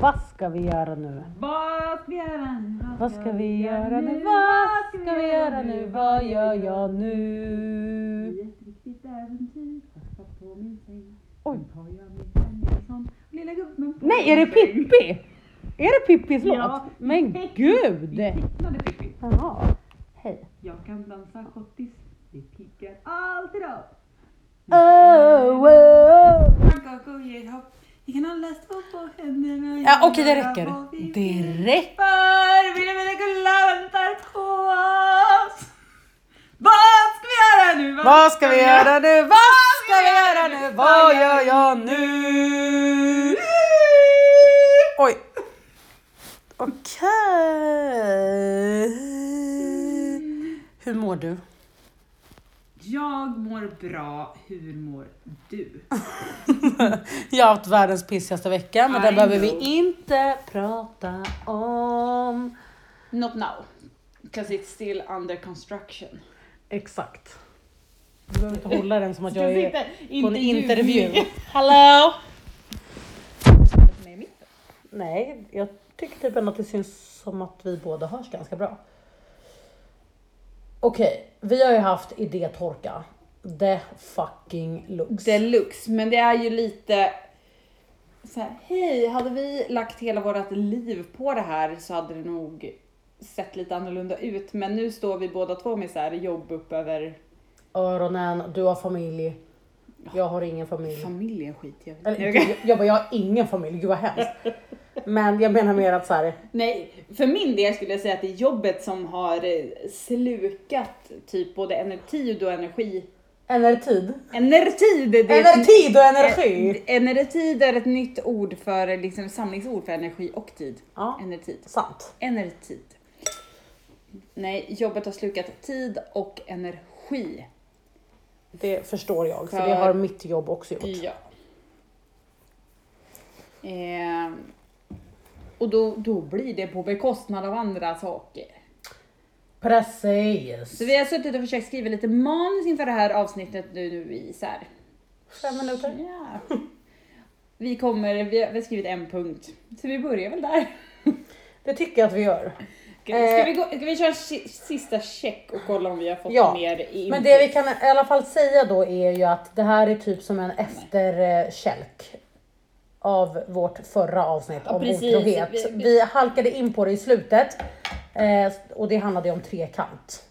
Vad ska vi göra nu? Vad ska vi göra nu? Vad ska vi göra nu? Vad ska vi göra nu? Vad gör jag nu? I ett riktigt äventyr, fast fast på min säng. Oj. Nu Har jag Micke Andersson och lilla gubben på Nej, är det min säng. Pippi? Är det Pippis låt? Ja. Men Vi gud! tecknade Pippi. Jaha, hej. Jag kan dansa schottis. Det piggar alltid upp. Oh, oh. Hanka och ger hopp. Vi kan alla stå på händerna. Ja, okej, det göra räcker. vad vi Det vill. räcker. För Wilhelm och Gulla väntar på oss. Vad ska vi göra nu? Vad ska vi göra nu? Vad ska vi göra nu? Vad gör jag nu? Oj. Okej. Hur mår du? Jag mår bra. Hur mår du? Jag har haft världens pissigaste vecka, men det I behöver vi know. inte prata om. Not now. Because it's still under construction. Exakt. Du behöver inte hålla den som att Du jag är sitter på en intervju. intervju. Hello! Med i mitten. Nej, jag tycker typ ändå att det syns som att vi båda hörs ganska bra. Okej, vi har ju haft idétorka. The fucking looks. Deluxe, men det är ju lite så här, hej, hade vi lagt hela vårt liv på det här så hade det nog sett lite annorlunda ut. Men nu står vi båda två med så här jobb upp över Öronen, du har familj. Jag har ingen familj. familjen skit jag vill. Eller, jag, jag, bara, jag har ingen familj, gud vad hemskt. Men jag menar mer att så här, Nej, för min del skulle jag säga att det är jobbet som har eh, slukat typ både ener- tid och energi. eller tid. Enertid! Det är Eller ett- tid och energi. Eh, Enertid är ett nytt ord för, liksom samlingsord för energi och tid. Ja. Enertid. Sant. Enertid. Nej, jobbet har slukat tid och energi. Det förstår jag, för För- Mm. det har mitt jobb också gjort. Ja. Eh, och då, då blir det på bekostnad av andra saker. Precis. Så vi har suttit och försökt skriva lite manus inför det här avsnittet nu, nu i så här. Fem minuter. Ja. Vi kommer, vi har, vi har skrivit en punkt. Så vi börjar väl där. Det tycker jag att vi gör. Ska, vi- ska, Eh. vi, gå, ska vi köra en si- sista check och kolla om vi har fått Ja, mer in? Men det vi kan i alla fall säga då är ju att det här är typ som en efterkälk av vårt förra avsnitt Ja, om precis. otrohet. Vi- vi- Vi halkade in på det i slutet eh, och det handlade ju om trekant.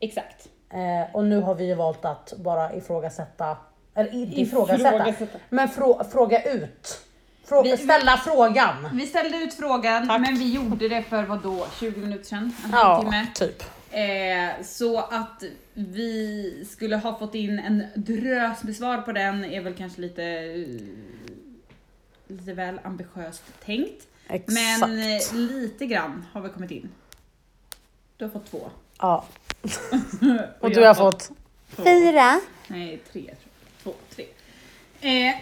Exakt. Eh, och nu har vi ju valt att bara ifrågasätta, eller inte ifrågasätta, Ifrågasätta. men frå, fråga ut. Frå, Vi- vi- ställa frågan. Vi ställde ut frågan, men vi gjorde det för vad då, 20 minuter sedan? En halvtimme. typ. Eh, så att vi skulle ha fått in en drös med svar på den är väl kanske lite, eh, lite väl ambitiöst tänkt. Exakt. Men eh, lite grann har vi kommit in. Du har fått två. Ja. Och Och jag du har har fått två. fyra. Nej, tre. tror jag. Två, tre. Eh,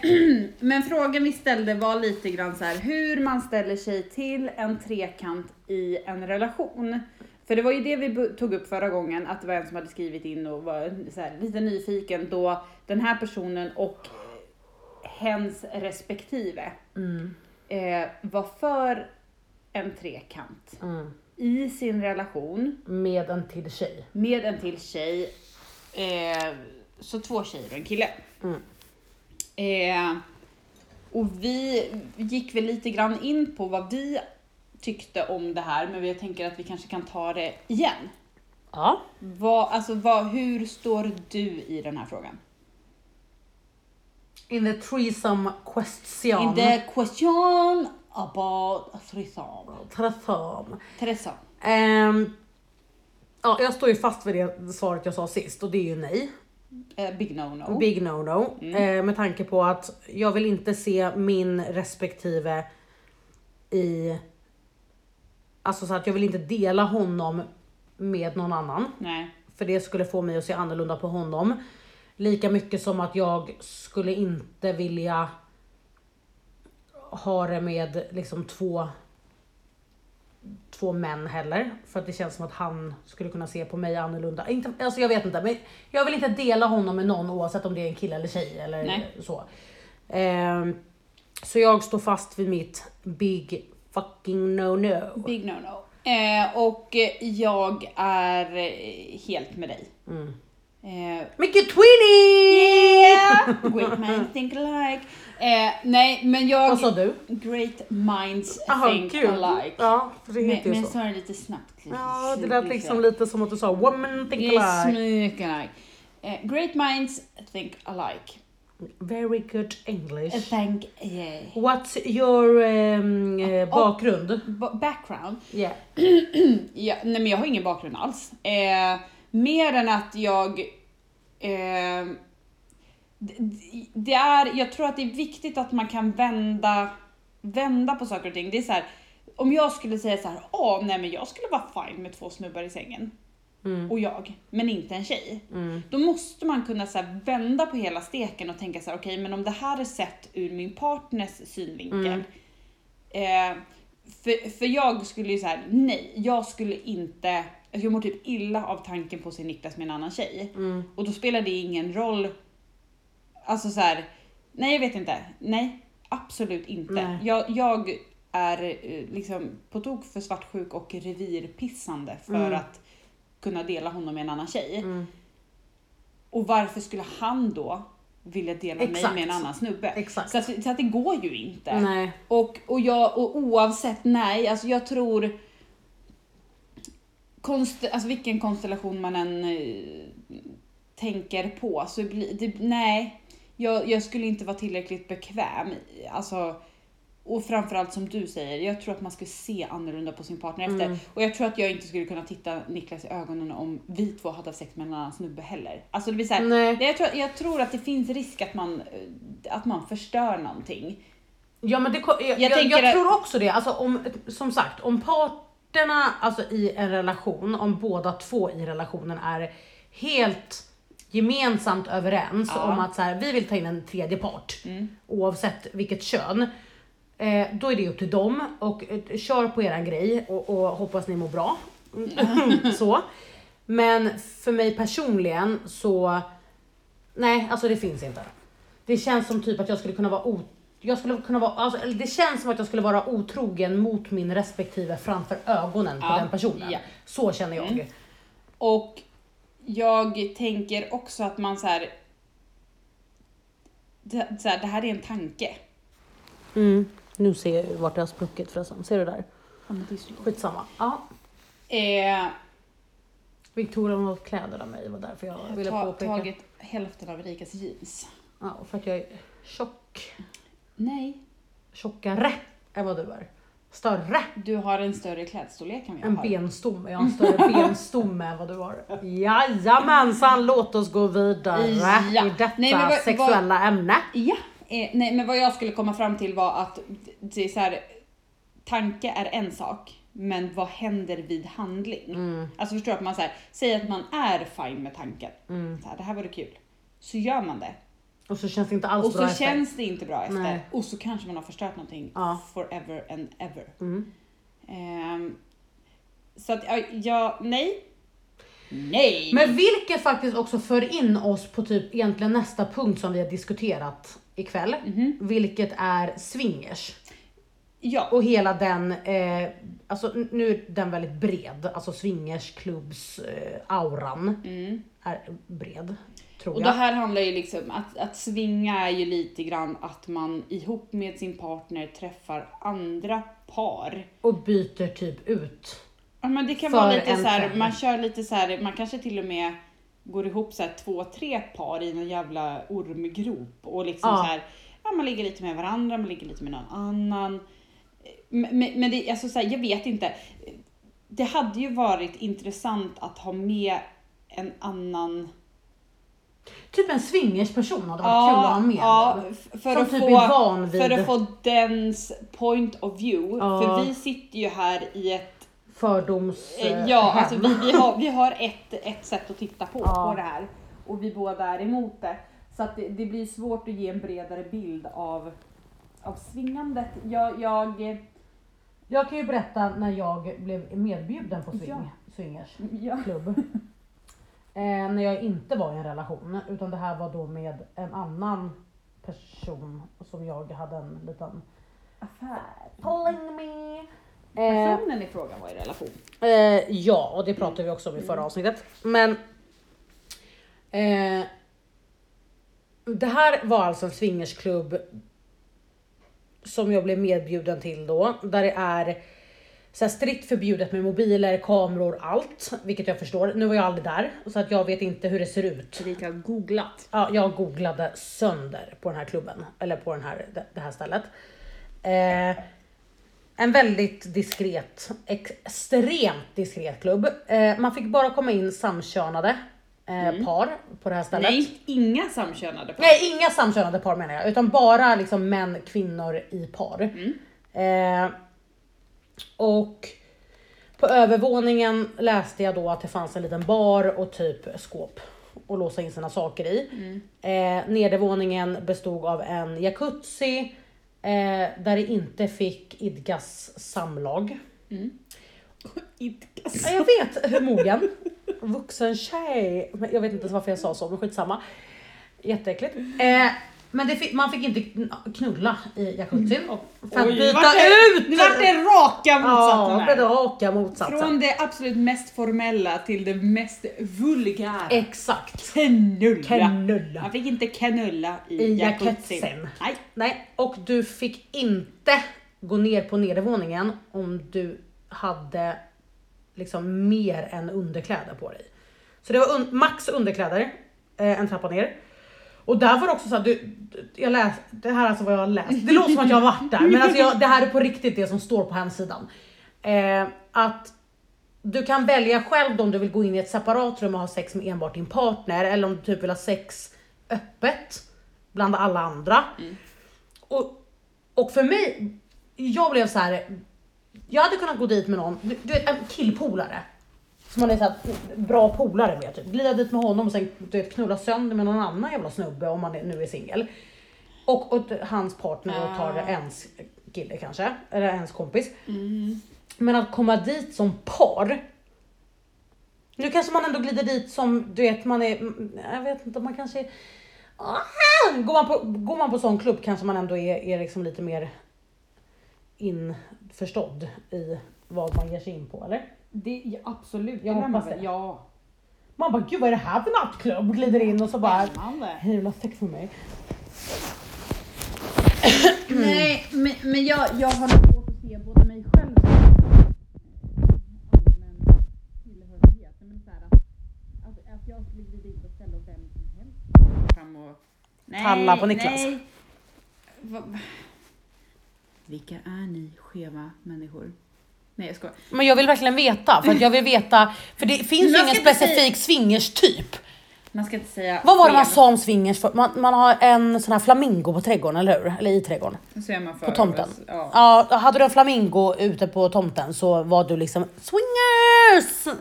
men frågan vi ställde var lite grann så här hur man ställer sig till en trekant i en relation. För det var ju det vi bu- tog upp förra gången, att det var en som hade skrivit in och var så här, lite nyfiken då den här personen och hens respektive Mm. eh, var för en trekant Mm. i sin relation Med en till tjej. med en till tjej. Eh, så två tjejer och en kille. Mm. Eh, och vi gick väl lite grann in på vad vi tyckte om det här, men jag tänker att vi kanske kan ta det igen. Ja. Vad, alltså, vad, hur står du i den här frågan? In the threesome question. In the question about alltså, threesome. Threesome. Theresa. Ehm, ja, jag står ju fast vid det svaret jag sa sist och det är ju nej. Eh, big no no. Big no no. Mm. Eh, med tanke på att jag vill inte se min respektive i... Alltså så att jag vill inte dela honom med någon annan. Nej. För det skulle få mig att se annorlunda på honom. Lika mycket som att jag skulle inte vilja ha det med liksom två, två män heller. För att det känns som att han skulle kunna se på mig annorlunda. Inte, alltså jag vet inte, men jag vill inte dela honom med någon oavsett om det är en kille eller tjej eller Nej. så. Ehm, Så jag står fast vid mitt big fucking no no. Big no no. Eh, och jag är eh, helt med dig. Mm. Eh, Mycket Twinnie! great minds think alike. Eh, nej, men jag... Vad sa du? Great minds Jaha, think kul. alike. Ja, för det men heter ju men så. sa det lite snabbt. Lite, Ja, det lät liksom lite som att du sa woman think Yes, alike. think alike. Eh, great minds think alike. Very good Eh, English. Thank yeah. What's your ehm, eh, Oh. bakgrund? Ba- background. Yeah. Ja, nej men jag har ingen bakgrund alls. Eh, mer än att jag... Eh, d- d- det är, jag tror att det är viktigt att man kan vända, vända på saker och ting. Det är så här, om jag skulle säga så här, åh nej men jag skulle vara fine med två snubbar i sängen. Mm. Och jag, men inte en tjej. Mm. Då måste man kunna så här vända på hela steken och tänka så här, okej men om det här är sett ur min partners synvinkel. Eh, för, för jag skulle ju så här, nej, jag skulle inte, alltså jag mår typ illa av tanken på att se Niklas med en annan tjej. Mm. Och då spelar det ingen roll, alltså så här, nej jag vet inte, nej absolut Nej. inte. Jag, jag är eh, liksom på tok för svartsjuk och revirpissande för Mm. att kunna dela honom med en annan tjej. Mm. Och varför skulle han då vilja dela mig Exakt. med en annan snubbe? Exakt. Så att, så att det går ju inte. Nej. Och, och, jag, och oavsett, nej, alltså jag tror konst, alltså vilken konstellation man än eh, tänker på så blir det, nej, jag, jag skulle inte vara tillräckligt bekväm. i- Alltså, och framförallt som du säger, jag tror att man skulle se annorlunda på sin partner efter. Och jag tror att jag inte skulle kunna titta Niklas i ögonen om vi två hade haft sex med en annan snubbe heller. Alltså det blir så här, Nej. jag, tror, jag tror att det finns risk att man, eh, att man förstör någonting. Ja men det, ko- jag, jag, tänker jag, att- tror också det. Alltså om, som sagt, om parterna alltså i en relation, om båda två i relationen är helt gemensamt överens Ja. Mm. om att så här, vi vill ta in en tredje part oavsett vilket kön. Eh, då är det upp till dem och eh, kör på eran grej och, och hoppas ni mår bra. så. Men för mig personligen så, nej alltså det finns inte. Det känns som typ att jag skulle kunna vara o- jag skulle kunna vara, alltså, eller det känns som att jag skulle vara otrogen mot min respektive framför ögonen på Ja, den personen. ja. Mm. Så känner jag. Och jag tänker också att man så här, det, så här, det här är en tanke. Mm. Nu ser jag vart jag har spruckit förresten. Ser du där? Skitsamma. Ja. Eh, Victoria har något kläder av mig, var därför jag ville ta, påpeka. tagit hälften av Rikas jeans. Ja, och för att jag är tjock. Nej, Tjockare än vad du är. Större. du har en större klädstorlek än jag En har. benstomme. Jag har en större benstomme än vad du har. Jajamensan, låt oss gå vidare Ja. i detta Nej, men vad- sexuella ämne. Ja, eh, nej men vad jag skulle komma fram till var att det- det är så här, tanke är en sak, men vad händer vid handling? Mm. Alltså förstår du att man så här, säger att man är fine med tanken, så här, det här vore kul, så gör man det. Och så känns det inte alls Och så bra efter. känns det inte bra efter. Nej. Och så kanske man har förstört någonting Ja. forever and ever. Mm. Ehm, så att ja, ja, nej. Nej! Men vilket faktiskt också för in oss på typ egentligen nästa punkt som vi har diskuterat ikväll. Mhm. Vilket är swingers. ja, Och hela den, eh, alltså n- nu är den väldigt bred, alltså swingersklubbs eh, auran mm. är bred. Tror Och det jag. här handlar ju liksom att, att svinga är ju lite grann att man ihop med sin partner träffar andra par. Och byter typ ut. Ja, men det kan För vara lite en så här, själv. man kör lite så här, man kanske till och med går ihop så här två, tre par i en jävla ormgrop och liksom Ja. så här, ja man ligger lite med varandra, man ligger lite med någon annan. Men, men men det, alltså så här, jag vet inte. Det hade ju varit intressant att ha med en annan... Typ en swingersperson hade varit kul att ha med. ja, f- för, Som att typ få, är van vid- för att få dens point of view. Ja. För vi sitter ju här i ett Fördoms... Eh, eh, Ja, hem. alltså vi, vi har, vi har ett, ett sätt att titta på, Ja. på det här och vi båda är emot det. Så att det, det blir svårt att ge en bredare bild av, av svingandet. Jag, jag, eh, Jag kan ju berätta när jag blev medbjuden på swing, Ja. swingers. jag, klubb. Eh, när jag inte var i en relation, utan det här var då med en annan person som jag hade en liten Affär. Pulling me. Eh, Personen i frågan var i relation. eh, ja, och det pratade vi också om i förra avsnittet. Men eh, det här var alltså en swingersklubb som jag blev medbjuden till då, där det är så här strikt förbjudet med mobiler, kameror, allt. Vilket jag förstår. Nu var jag aldrig där, så att jag vet inte hur det ser ut. Erika har googlat. Ja, jag googlade sönder på den här klubben, eller på den här, det- det här stället. Eh, en väldigt diskret, extremt diskret klubb. Eh, man fick bara komma in samkönade eh, par på det här stället. Nej, inga samkönade par. Nej, inga samkönade par menar jag, utan bara liksom män, kvinnor i par. Mm. Eh, och på övervåningen läste jag då att det fanns en liten bar och typ skåp att låsa in sina saker i. Mm. Eh, nedervåningen bestod av en jacuzzi eh, där det inte fick idkas samlag. Idkas. Ja, jag vet, hur mogen. Vuxen tjej. Men Jag vet inte ens varför jag sa så, men skitsamma. Jätteäckligt. Eh, men det fick, man fick inte kn- knulla i jacuzzin. För att byta Mm. vart det, ut! Nu vart det raka motsatsen ja, det här. raka motsatsen. Från det absolut mest formella till det mest vulgära. Exakt. Knulla. Knulla. Man fick inte knulla i, I jacuzzin. jacuzzin. Nej. Nej, och du fick inte gå ner på nedervåningen om du hade liksom mer än underkläder på dig. Så det var un- max underkläder eh, en trappa ner. Och där var det också så att du, du- jag läs, det här är alltså vad jag har läst, det låter som att jag har varit där men alltså jag, det här är på riktigt det som står på hemsidan. Eh, att du kan välja själv om du vill gå in i ett separat rum och ha sex med enbart din partner eller om du typ vill ha sex öppet bland alla andra. Och, och för mig, jag blev så här. jag hade kunnat gå dit med någon, du, du vet en killpolare. Som man är så här, bra polare med, typ. glida dit med honom och sen du vet, knulla sönder med någon annan jävla snubbe om man är, nu är singel. Och, och hans partner och tar ens kille kanske, eller ens kompis. Mm. Men att komma dit som par. Nu kanske man ändå glider dit som, du vet, man är, mm, jag vet inte, man kanske är, ah, går, man på, går man på sån klubb kanske man ändå är, är liksom lite mer införstådd i vad man ger sig in på eller? Det, ja, absolut. Jag det lär man hoppas väl- det. Ja. Man bara, gud vad är det här för nattklubb? Glider in och så bara, Spännande. hej vill du ha sex med mig? Mm. Nej, men, men jag, jag har svårt att se både mig själv och allmän tillhörighet. Men så här att, att, att jag skulle glida in och ställa vem som helst fram och... Nej, Talla på Niklas. Nej. Va, va. Vilka är ni skeva människor? Nej, jag skojar. Men jag vill verkligen veta, för att jag vill veta, för det finns ju Man ingen ska inte säga- specifik swingers-typ. Man ska inte säga... Vad var det man skev. sa om swingers? för? Man, man har en sån här flamingo på trädgården, eller hur? Eller i trädgården. Så är man för, På tomten. Ja. Ja, hade du en flamingo ute på tomten så var du liksom swingers!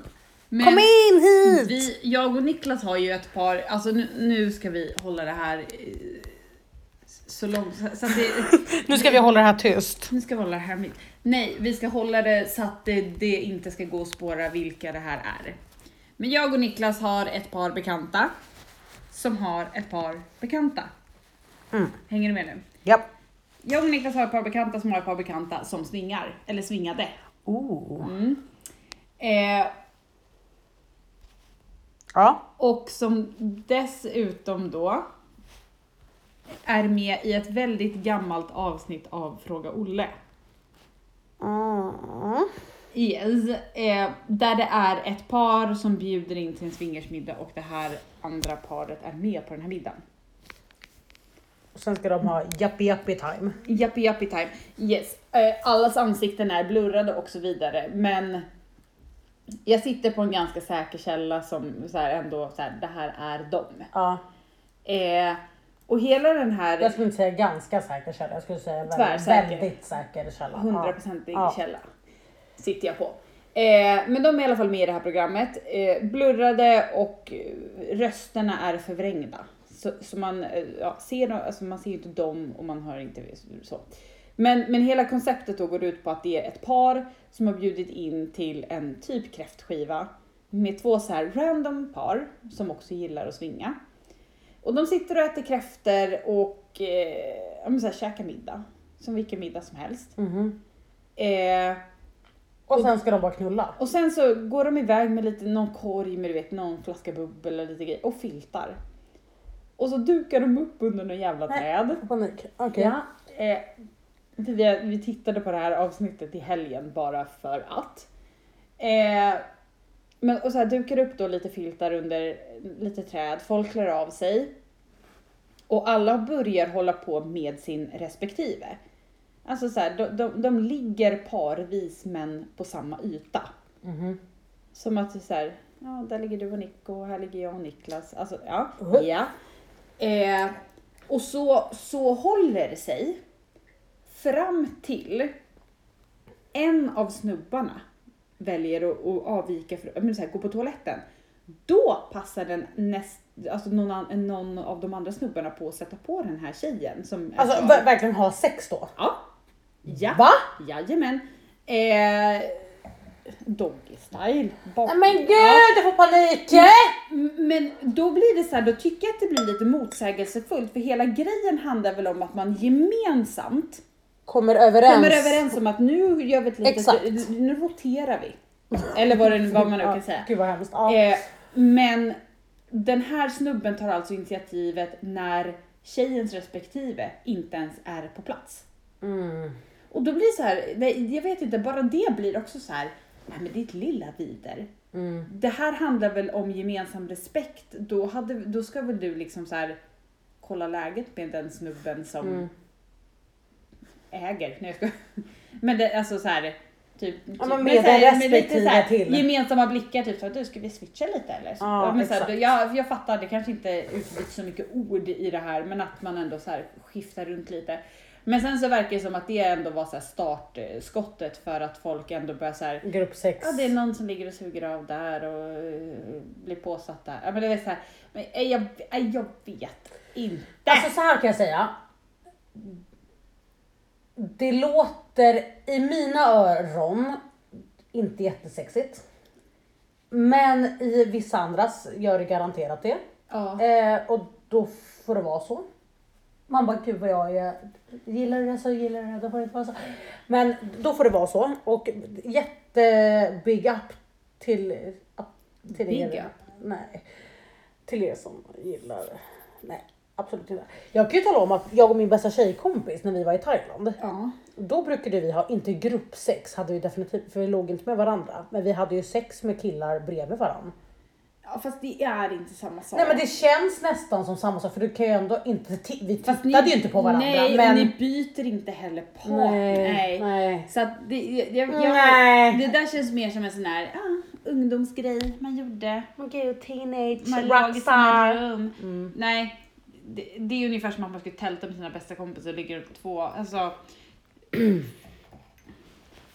Men- Kom in hit! Vi, jag och Niklas har ju ett par, alltså nu, nu ska vi hålla det här eh, så långt, så, så att det, Nu ska vi hålla det här tyst. nu ska vi hålla det här mitt. Nej, vi ska hålla det så att det, det inte ska gå att spåra vilka det här är. Men jag och Niklas har ett par bekanta som har ett par bekanta. Mm. Hänger du med nu? Japp. Jag och Niklas har ett par bekanta som har ett par bekanta som svingar, eller svingade. Mm. Oh. Eh, Ja. Och som dessutom då är med i ett väldigt gammalt avsnitt av Fråga Olle. Mm. Yes, eh, där det är ett par som bjuder in till en swingersmiddag och det här andra paret är med på den här middagen. Sen ska de ha jappi jappi time. Jappi jappi time. Yes, eh, allas ansikten är blurrade och så vidare men jag sitter på en ganska säker källa som så här ändå, så här, det här är dem. Ja. Eh, och hela den här... Jag skulle inte säga ganska säker källa, jag skulle säga väldigt, Tvärsäker. väldigt säker källa. Ja. 100% Ja. källa. Sitter jag på. Eh, men de är i alla fall med i det här programmet. Eh, blurrade och eh, rösterna är förvrängda. Så, så man, eh, ja, ser, dem- alltså man ser ju inte dem och man hör inte så. Men, men hela konceptet då går ut på att det är ett par som har bjudit in till en typ kräftskiva med två så här random par som också gillar att svinga. Och de sitter och äter kräftor och eh, ja, men så här, käkar middag. Som vilken middag som helst. Mhm. Eh, Och sen ska de bara knulla. och sen så går de iväg med lite, någon korg med du vet, någon flaska bubbel och lite grejer. Och filtar. Och så dukar de upp under någon jävla Nej. träd. Panik. Okej. Ja, eh, för vi, vi tittade på det här avsnittet i helgen bara för att. Eh, men, och så här, dukar upp då lite filtar under lite träd, folk klär av sig. Och alla börjar hålla på med sin respektive. Alltså så här, de, de, de ligger parvis men på samma yta. Mhm. Som att det är så här, ja där ligger du och Nico och här ligger jag och Niklas. Alltså ja. Mhm. ja. Eh, och så, så håller det sig fram till en av snubbarna väljer att, att avvika, för, men så här, gå på toaletten. Då passar den näst, alltså någon, an- någon av de andra snubbarna på att sätta på den här tjejen. Som är Alltså kvar. ver- verkligen ha sex då? ja. ja. Va? Jajamän. Eh, doggy style. Bak- Nej men Ja. gud jag får panik! M- Men då blir det så här, då tycker jag att det blir lite motsägelsefullt för hela grejen handlar väl om att man gemensamt Kommer överens. kommer överens om att nu gör vi ett litet, Exakt. nu roterar vi. Eller vad, det, vad man nu kan säga. Gud vad hemskt. Ja. Eh, men den här snubben tar alltså initiativet när tjejens respektive inte ens är på plats. Mm. Och då blir det så här, nej, jag vet inte, bara det blir också så här, nej men ditt lilla vider. Mm. Det här handlar väl om gemensam respekt, då, hade, då ska väl du liksom så här kolla läget med den snubben som Mm. äger. Nej, jag skojar. Men det, alltså så här, typ, typ men med så här, den lite så här, respektive till. gemensamma blickar, typ så här, du ska vi switcha lite eller? Så, Ja, men så här, exakt. jag, jag fattar, det kanske inte utbyts så mycket ord i det här, men att man ändå så här skiftar runt lite. Men sen så verkar det som att det ändå var så här startskottet för att folk ändå börjar så här Grupp sex. Ja, det är någon som ligger och suger av där och eh, blir påsatt där. Ja, men det är så här, men eh, jag, eh, jag vet inte. Alltså så här kan jag säga. Det låter i mina öron inte jättesexigt. Men i vissa andras gör det garanterat det. ja. Eh, och då får det vara så. Man bara, gud vad jag är... Gillar du det så gillar du det, då får det inte vara så. Men då får det vara så. Och jätte big up till, up- till Big er. up? Nej. Till er som gillar... Nej, absolut inte. Jag kan ju tala om att jag och min bästa tjejkompis när vi var i Thailand. ja. Då brukade vi ha, inte gruppsex hade vi definitivt, för vi låg inte med varandra. Men vi hade ju sex med killar bredvid varandra. Ja, fast det är inte samma sak. Nej men det känns nästan som samma sak för du kan ju ändå inte, ti- vi Fast tittade ju inte på varandra Nej, men... och ni byter inte heller partner. nej, Nej. nej. Så att det, jag, jag, Nej. det där känns mer som en sån här ah, ungdomsgrej man gjorde. Men gud, teenage Man låg i samma rum. Mm. Nej, det, det är ungefär som att man skulle tälta med sina bästa kompisar och ligger upp två, alltså.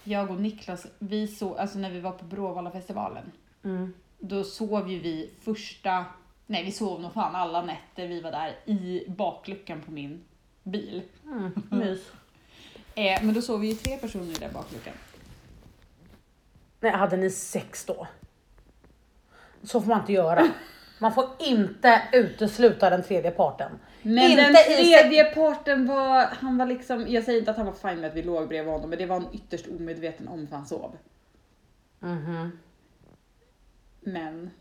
jag och Niklas, vi så, alltså när vi var på Bråvallafestivalen, Mm. då sov ju vi första, nej vi sov nog fan alla nätter vi var där i bakluckan på min bil. Mm. Mys. Eh, men då sov vi ju tre personer i den bakluckan. Nej, hade ni sex då? Så får man inte göra. Man får inte utesluta den tredje parten. Men Inte den i se- tredje parten var, han var liksom, jag säger inte att han var fine med att vi låg bredvid honom, men det var han ytterst omedveten om för han sov. Mhm. Men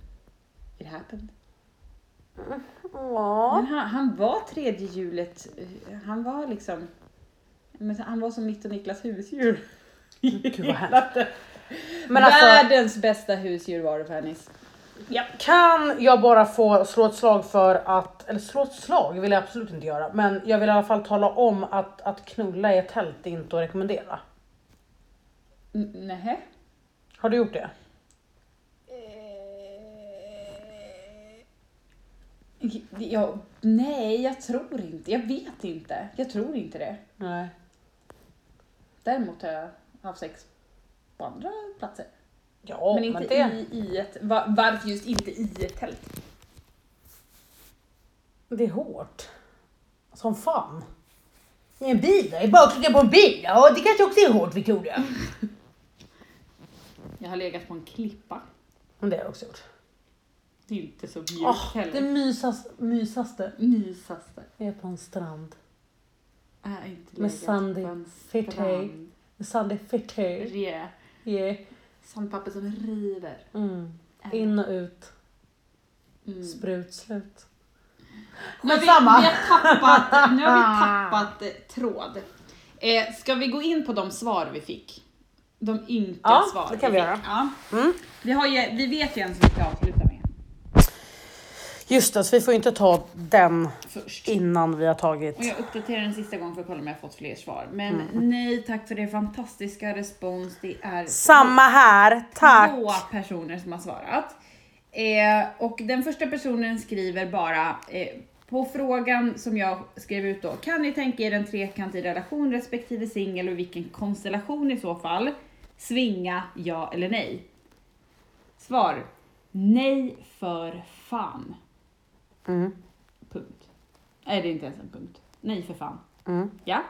it happened. Ja. Men han, han var tredje hjulet, eh, han var liksom, men han var som mitt och Niklas husdjur. Gud, vad hemskt. Gillade. Men alltså, Världens bästa husdjur var det för Hennis. kan jag bara få slå ett slag för att, eller slå ett slag vill jag absolut inte göra, men jag vill i alla fall tala om att, att knulla i ett tält är inte att rekommendera. N- Nähä? Har du gjort det? Eh, Jag, nej, jag tror inte. Jag vet inte. Jag tror inte det. Nej. Däremot har jag haft sex på andra platser. Ja, men inte det, i, i ett... va- varför just inte i ett tält? det är hårt. Som fan. I en bil då? I bakluckan på en bil? Ja, det kanske också är hårt Victoria. Jag har legat på en klippa. Men det har jag också gjort. det är inte så mjukt Åh, det heller. mysas, mysaste Mysaste är på en strand. är inte Med legat sandig på en fittej. strand. Sandy Fitter. Yeah. Yeah. Sandpapper som river. Mm. In och ut. Mm. Sprut slut. Men vi, vi, Skitsamma. har tappat, nu har vi tappat eh, tråd. Eh, ska vi gå in på de svar vi fick? De ynka Ja, svar det kan vi fick. göra. Ja. Mm. Vi, har ju, vi vet ju en som vi ska avsluta med Just det, så vi får inte ta den först. innan vi har tagit. Och jag uppdaterar den sista gången för att kolla om jag har fått fler svar. Men Mm. nej, tack för er fantastiska respons. Det är Samma här, tack! två personer som har svarat. Eh, och den första personen skriver bara eh, på frågan som jag skrev ut då. Kan ni tänka er en trekant i relation respektive singel och vilken konstellation i så fall? Svinga ja eller nej? Svar. Nej för fan. Mm. Punkt. Nej, det är inte ens en punkt. Nej för fan. Mm. Ja.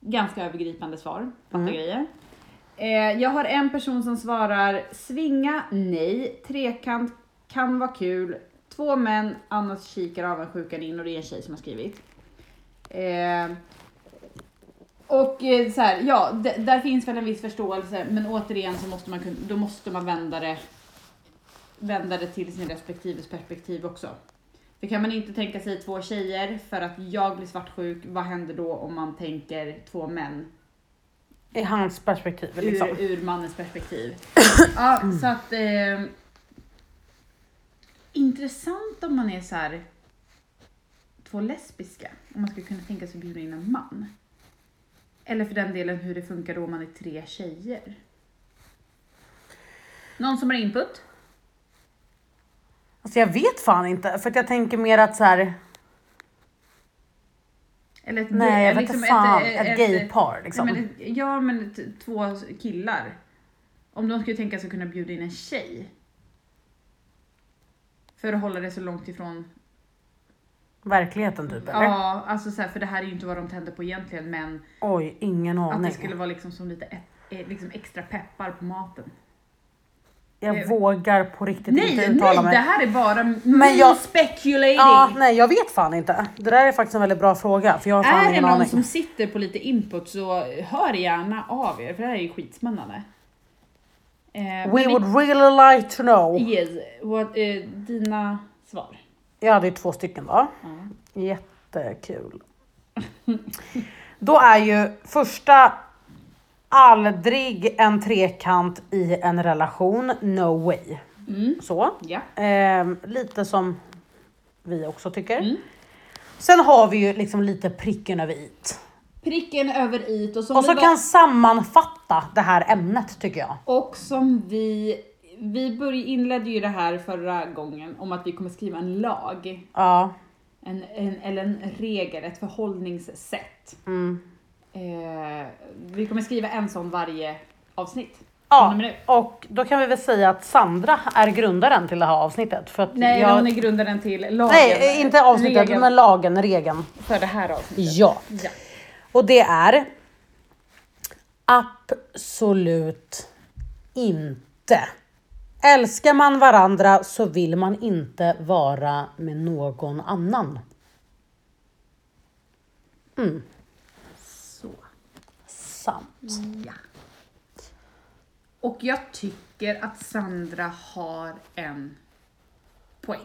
Ganska övergripande svar. Fatta grejer. Eh, jag har en person som svarar svinga, nej. Trekant kan vara kul. Två män, annars kikar avundsjukan in och det är en tjej som har skrivit. Eh, och eh, så här, ja, d- där finns väl en viss förståelse men återigen så måste man, kun- då måste man vända, det, vända det till sin respektives perspektiv också. För kan man inte tänka sig två tjejer för att jag blir svartsjuk, vad händer då om man tänker två män? I hans perspektiv liksom. Ur, ur mannens perspektiv. ja, så att... Eh, intressant om man är så här två lesbiska, om man skulle kunna tänka sig att bjuda in en man. Eller för den delen hur det funkar då om man är tre tjejer. Någon som har input? Alltså jag vet fan inte, för att jag tänker mer att så här, Eller ett, nej jag vet liksom inte fan, eh, ett, gaypar liksom. Nej, men, ett- ja, men ett, två killar. Om de skulle tänka sig att kunna bjuda in en tjej. För att hålla det så långt ifrån. Verkligheten typ eller? Ja, alltså så här, för det här är ju inte vad de tänder på egentligen, men Oj, ingen att aning. det skulle vara liksom som lite ett, eh, liksom extra peppar på maten. Jag Eh, vågar på riktigt Nej, inte nej, uttala mig. det här är bara Men men jag- jag speculating. Ja, nej jag vet fan inte. Det där är faktiskt en väldigt bra fråga för jag har fan är det ingen någon aning. som sitter på lite input så hör gärna av er, för det här är ju skitspännande. Eh, men We vi- would really like to know. Yes, what, eh, dina svar. Jag hade ju två stycken då. Jättekul. Då är ju första aldrig en trekant i en relation, no way. Mm. Så. Ja. Ehm, lite som vi också tycker. Mm. Sen har vi ju liksom lite pricken över it. Pricken över it och som, Och så vi, kan sammanfatta det här ämnet tycker jag. och som vi, vi börj, inledde ju det här förra gången om att vi kommer skriva en lag, Ja. en, en, eller en regel, ett förhållningssätt. Mm. Eh, vi kommer skriva en sån varje avsnitt. Ja, Från och med nu. och då kan vi väl säga att Sandra är grundaren till det här avsnittet. För att Nej, jag... hon är grundaren till lagen. Nej, inte avsnittet, regeln men lagen, regeln. för det här avsnittet. Ja. Ja. Och det är absolut inte. Älskar man varandra så vill man inte vara med någon annan. Så. Sant. Ja. Och jag tycker att Sandra har en poäng.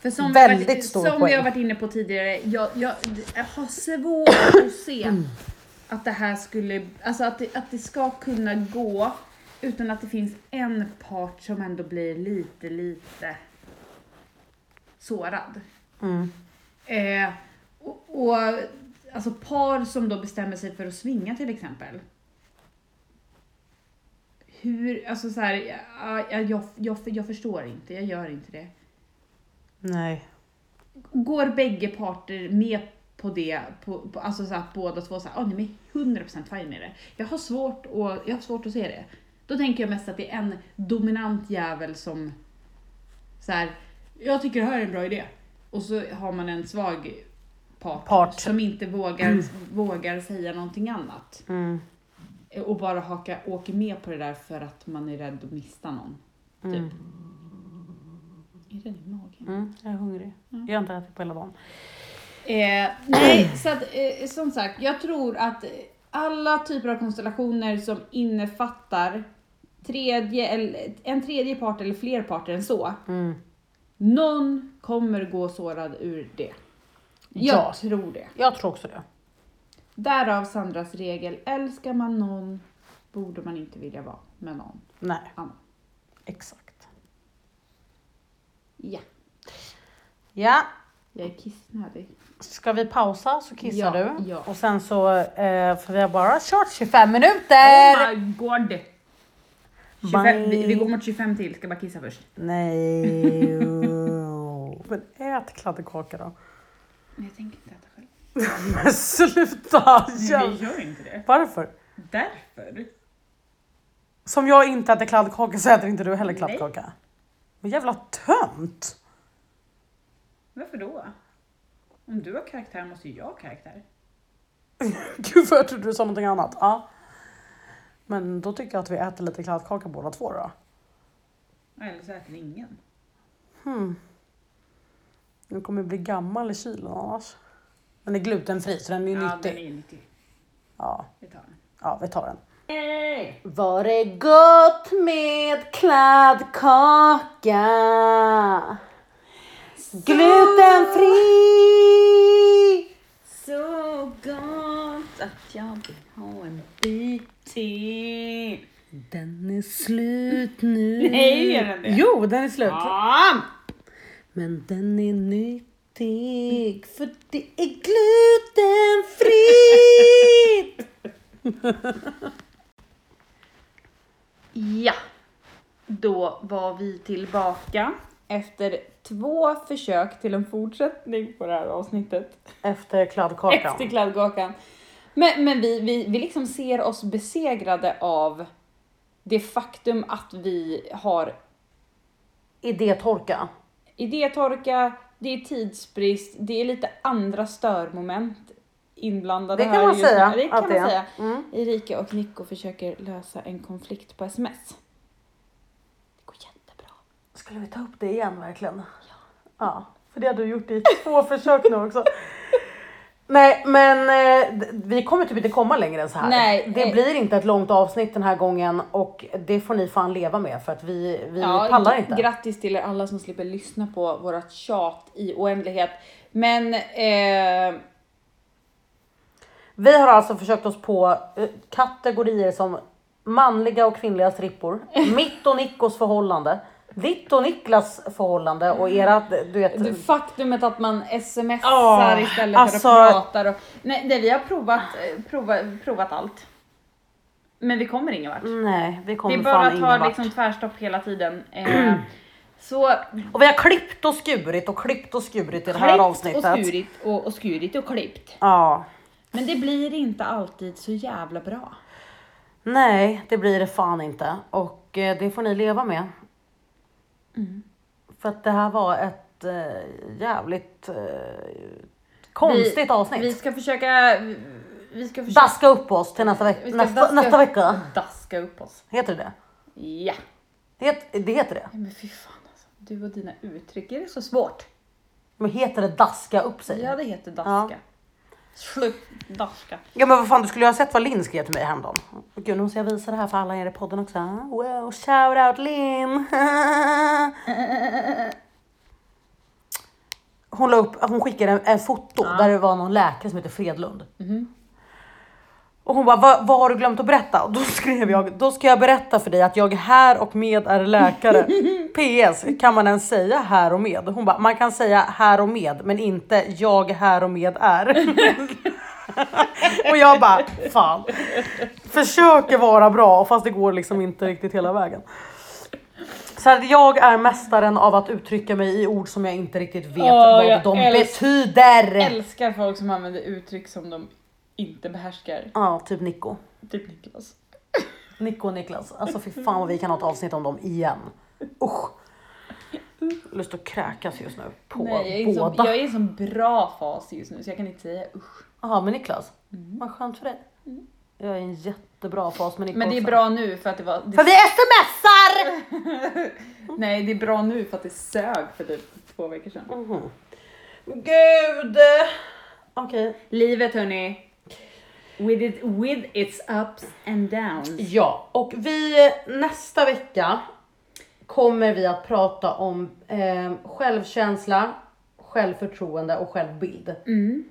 För som Väldigt vi, varit- stor Som vi poäng. har varit inne på tidigare, jag, jag, jag har svårt att se Mm. att det här skulle, alltså att det, att det ska kunna gå utan att det finns en part som ändå blir lite, lite sårad. Mm. Eh, och, och alltså par som då bestämmer sig för att svinga till exempel. Hur, alltså så här, ja, ja, jag, jag, jag förstår inte, jag gör inte det. Nej. Går bägge parter med på det, på, på, alltså så här, att båda två såhär, ah, nej men 100% fine med det. Jag har, svårt att, jag har svårt att se det. Då tänker jag mest att det är en dominant jävel som så här, jag tycker det här är en bra idé. Och så har man en svag part, Part. som inte vågar, vågar säga någonting annat. Mm. Och bara haka, åker med på det där för att man är rädd att mista någon. Typ. pirren i magen. Mm, jag är hungrig. Mm. Jag har inte ätit på hela dagen. Eh, nej, så att, eh, som sagt, jag tror att alla typer av konstellationer som innefattar tredje, eller, en tredje part eller fler parter än så, Mm. någon kommer gå sårad ur det. Jag Ja. tror det. Jag tror också det. Därav Sandras regel, älskar man någon borde man inte vilja vara med någon Nej, annan. exakt. Ja, Ja, jag är kissnödig. ska vi pausa så kissar Ja, du. ja. Och sen så, eh, för vi har bara kört 25 minuter. Oh my god! 25, Oh vi, vi går mot 25 till, ska bara kissa först. Nej. Men ät kladdkaka då. Men jag tänker inte äta själv. Men sluta! Nej, vi gör inte det. Varför? Därför? Som jag inte äter kladdkaka så äter inte du heller Nej. kladdkaka. Vad jävla tönt! Varför då? Om du har karaktär måste ju jag ha karaktär. Gud vad jag trodde du sa någonting annat. Ja. Men då tycker jag att vi äter lite kladdkaka båda två då. Eller så äter ingen. Hmm. Den kommer bli gammal i kylen annars. Den är glutenfri så den är ja, nyttig. den är nyttig. Ja, Vi tar den. ja, vi tar den. Hey! Var det gott med kladdkaka? Glutenfri! Så gott att jag vill ha en bit till. Den är slut nu. Nej, är den det? Jo, den är slut. Ja! Men den är nyttig för det är glutenfritt! ja! Då var vi tillbaka efter två försök till en fortsättning på det här avsnittet. Efter kladdkakan. Efter kladdkakan. Men, men vi, vi, vi liksom ser oss besegrade av det faktum att vi har Idétorka. idétorka, det är tidsbrist, det är lite andra störmoment inblandade Det här kan man just nu. säga. Det kan att man är. säga. Mm. Erika och Nico försöker lösa en konflikt på sms. Det går jättebra. Skulle vi ta upp det igen verkligen? Ja. för det har du gjort i två försök nu också. Nej, men eh, d- vi kommer typ inte komma längre än så här. Nej, det nej. blir inte ett långt avsnitt den här gången och det får ni fan leva med för att vi, vi Ja, pallar gr- inte. Grattis till er alla som slipper lyssna på vårat tjat i oändlighet. Men eh, vi har alltså försökt oss på eh, kategorier som manliga och kvinnliga strippor, mitt och Nickos förhållande, ditt och Niklas förhållande och era, du vet, Det faktumet att man smsar Ja, istället alltså- för att prata. Och, nej, nej, vi har provat, eh, provat, provat allt. Men vi kommer ingen vart. nej, vi Vi kommer bara fan ingen tar vart. liksom tvärstopp hela tiden. Eh, så Och vi har klippt och skurit och klippt och skurit i det här klippt avsnittet. och skurit och, och skurit och klippt. Ja. Men det blir inte alltid så jävla bra. Nej, det blir det fan inte. Och eh, det får ni leva med. Mm. För att det här var ett eh, jävligt eh, konstigt avsnitt. Vi ska försöka... Vi ska försöka daska upp oss till nästa, veck- Vi ska nästa, daska- nästa vecka. daska upp oss. Heter det det? Ja. det? Het, det heter det. Nej, Men fy fan alltså. Du och dina uttryck, är det så svårt? Men heter det daska upp sig? Ja, Ja, det heter daska. Slut daska. men vad fan du skulle ju ha sett vad Linn skrev till mig häromdagen. Gud nu måste jag visa det här för alla er i podden också. Wow, shout out Linn! Hon, la upp, hon skickade en, en foto där det var någon läkare som heter Fredlund. Och hon bara, vad, vad har du glömt att berätta? Och då skrev jag, då ska jag berätta för dig att jag här och med är läkare. PS, kan man ens säga här och med? Hon bara, man kan säga här och med, men inte jag här och med är. och jag bara, fan. Försöker vara bra fast det går liksom inte riktigt hela vägen. Så att jag är mästaren av att uttrycka mig i ord som jag inte riktigt vet Åh, vad jag de älsk- betyder. älskar folk som använder uttryck som de inte behärskar. ja, typ Nico. Typ Niklas. Nico och Niklas, alltså fy fan vad vi kan ha ett avsnitt om dem igen. Usch. Lust att kräkas just nu på Nej, jag är, i sån- båda. jag är i sån bra fas just nu så jag kan inte säga usch. Jaha men Niklas, Mm. vad skönt för dig. Jag är i en jättebra fas med Nico Men det är också. bra nu för att det var... För Det, vi smsar! förr! Nej, det är bra nu för att det sög för typ två veckor sedan. Mhm. Gud! eh, Okej. Livet hörni. With, it, with its ups and downs. Ja, och vi nästa vecka kommer vi att prata om eh, självkänsla, självförtroende och självbild. Mm.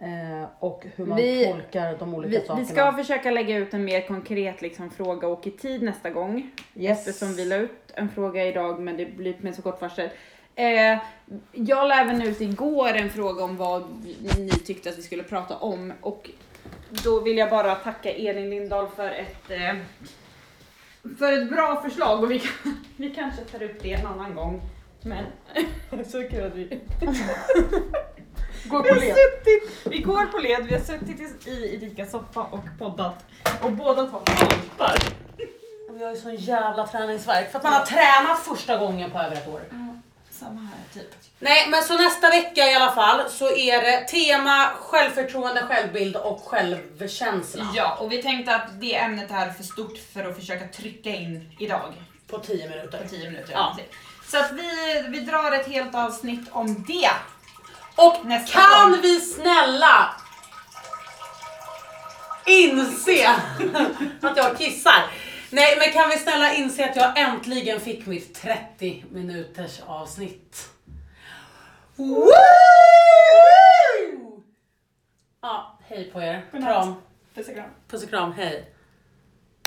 Eh, och hur man Vi- tolkar de olika Vi, sakerna. vi ska försöka lägga ut en mer konkret liksom, fråga och i tid nästa gång. yes. Eftersom vi la ut en fråga idag men det blir med så kort varsel. Eh, jag la även ut igår en fråga om vad ni tyckte att vi skulle prata om och då vill jag bara tacka Elin Lindahl för ett, eh, för ett bra förslag och vi, kan, vi kanske tar upp det en annan gång. Men så kul att vi går vi har suttit, vi går på led, vi har suttit i i Erikas soffa och poddat och båda två haltar. Vi har ju sån jävla träningsvärk för att man har tränat första gången på över ett år. Samma här typ. Nej men så nästa vecka i alla fall så är det tema självförtroende, självbild och självkänsla Ja, och vi tänkte att det ämnet här är för stort för att försöka trycka in idag på 10 på minuter. 10 minuter. Ja. Så att vi, vi drar ett helt avsnitt om det. Och Nästa kan gång. vi snälla inse att jag kissar? Nej men kan vi snälla inse att jag äntligen fick mitt 30 minuters avsnitt? Woo! Ja, hej på er. Godnatt. Kram. Puss och kram. Puss och kram, hej.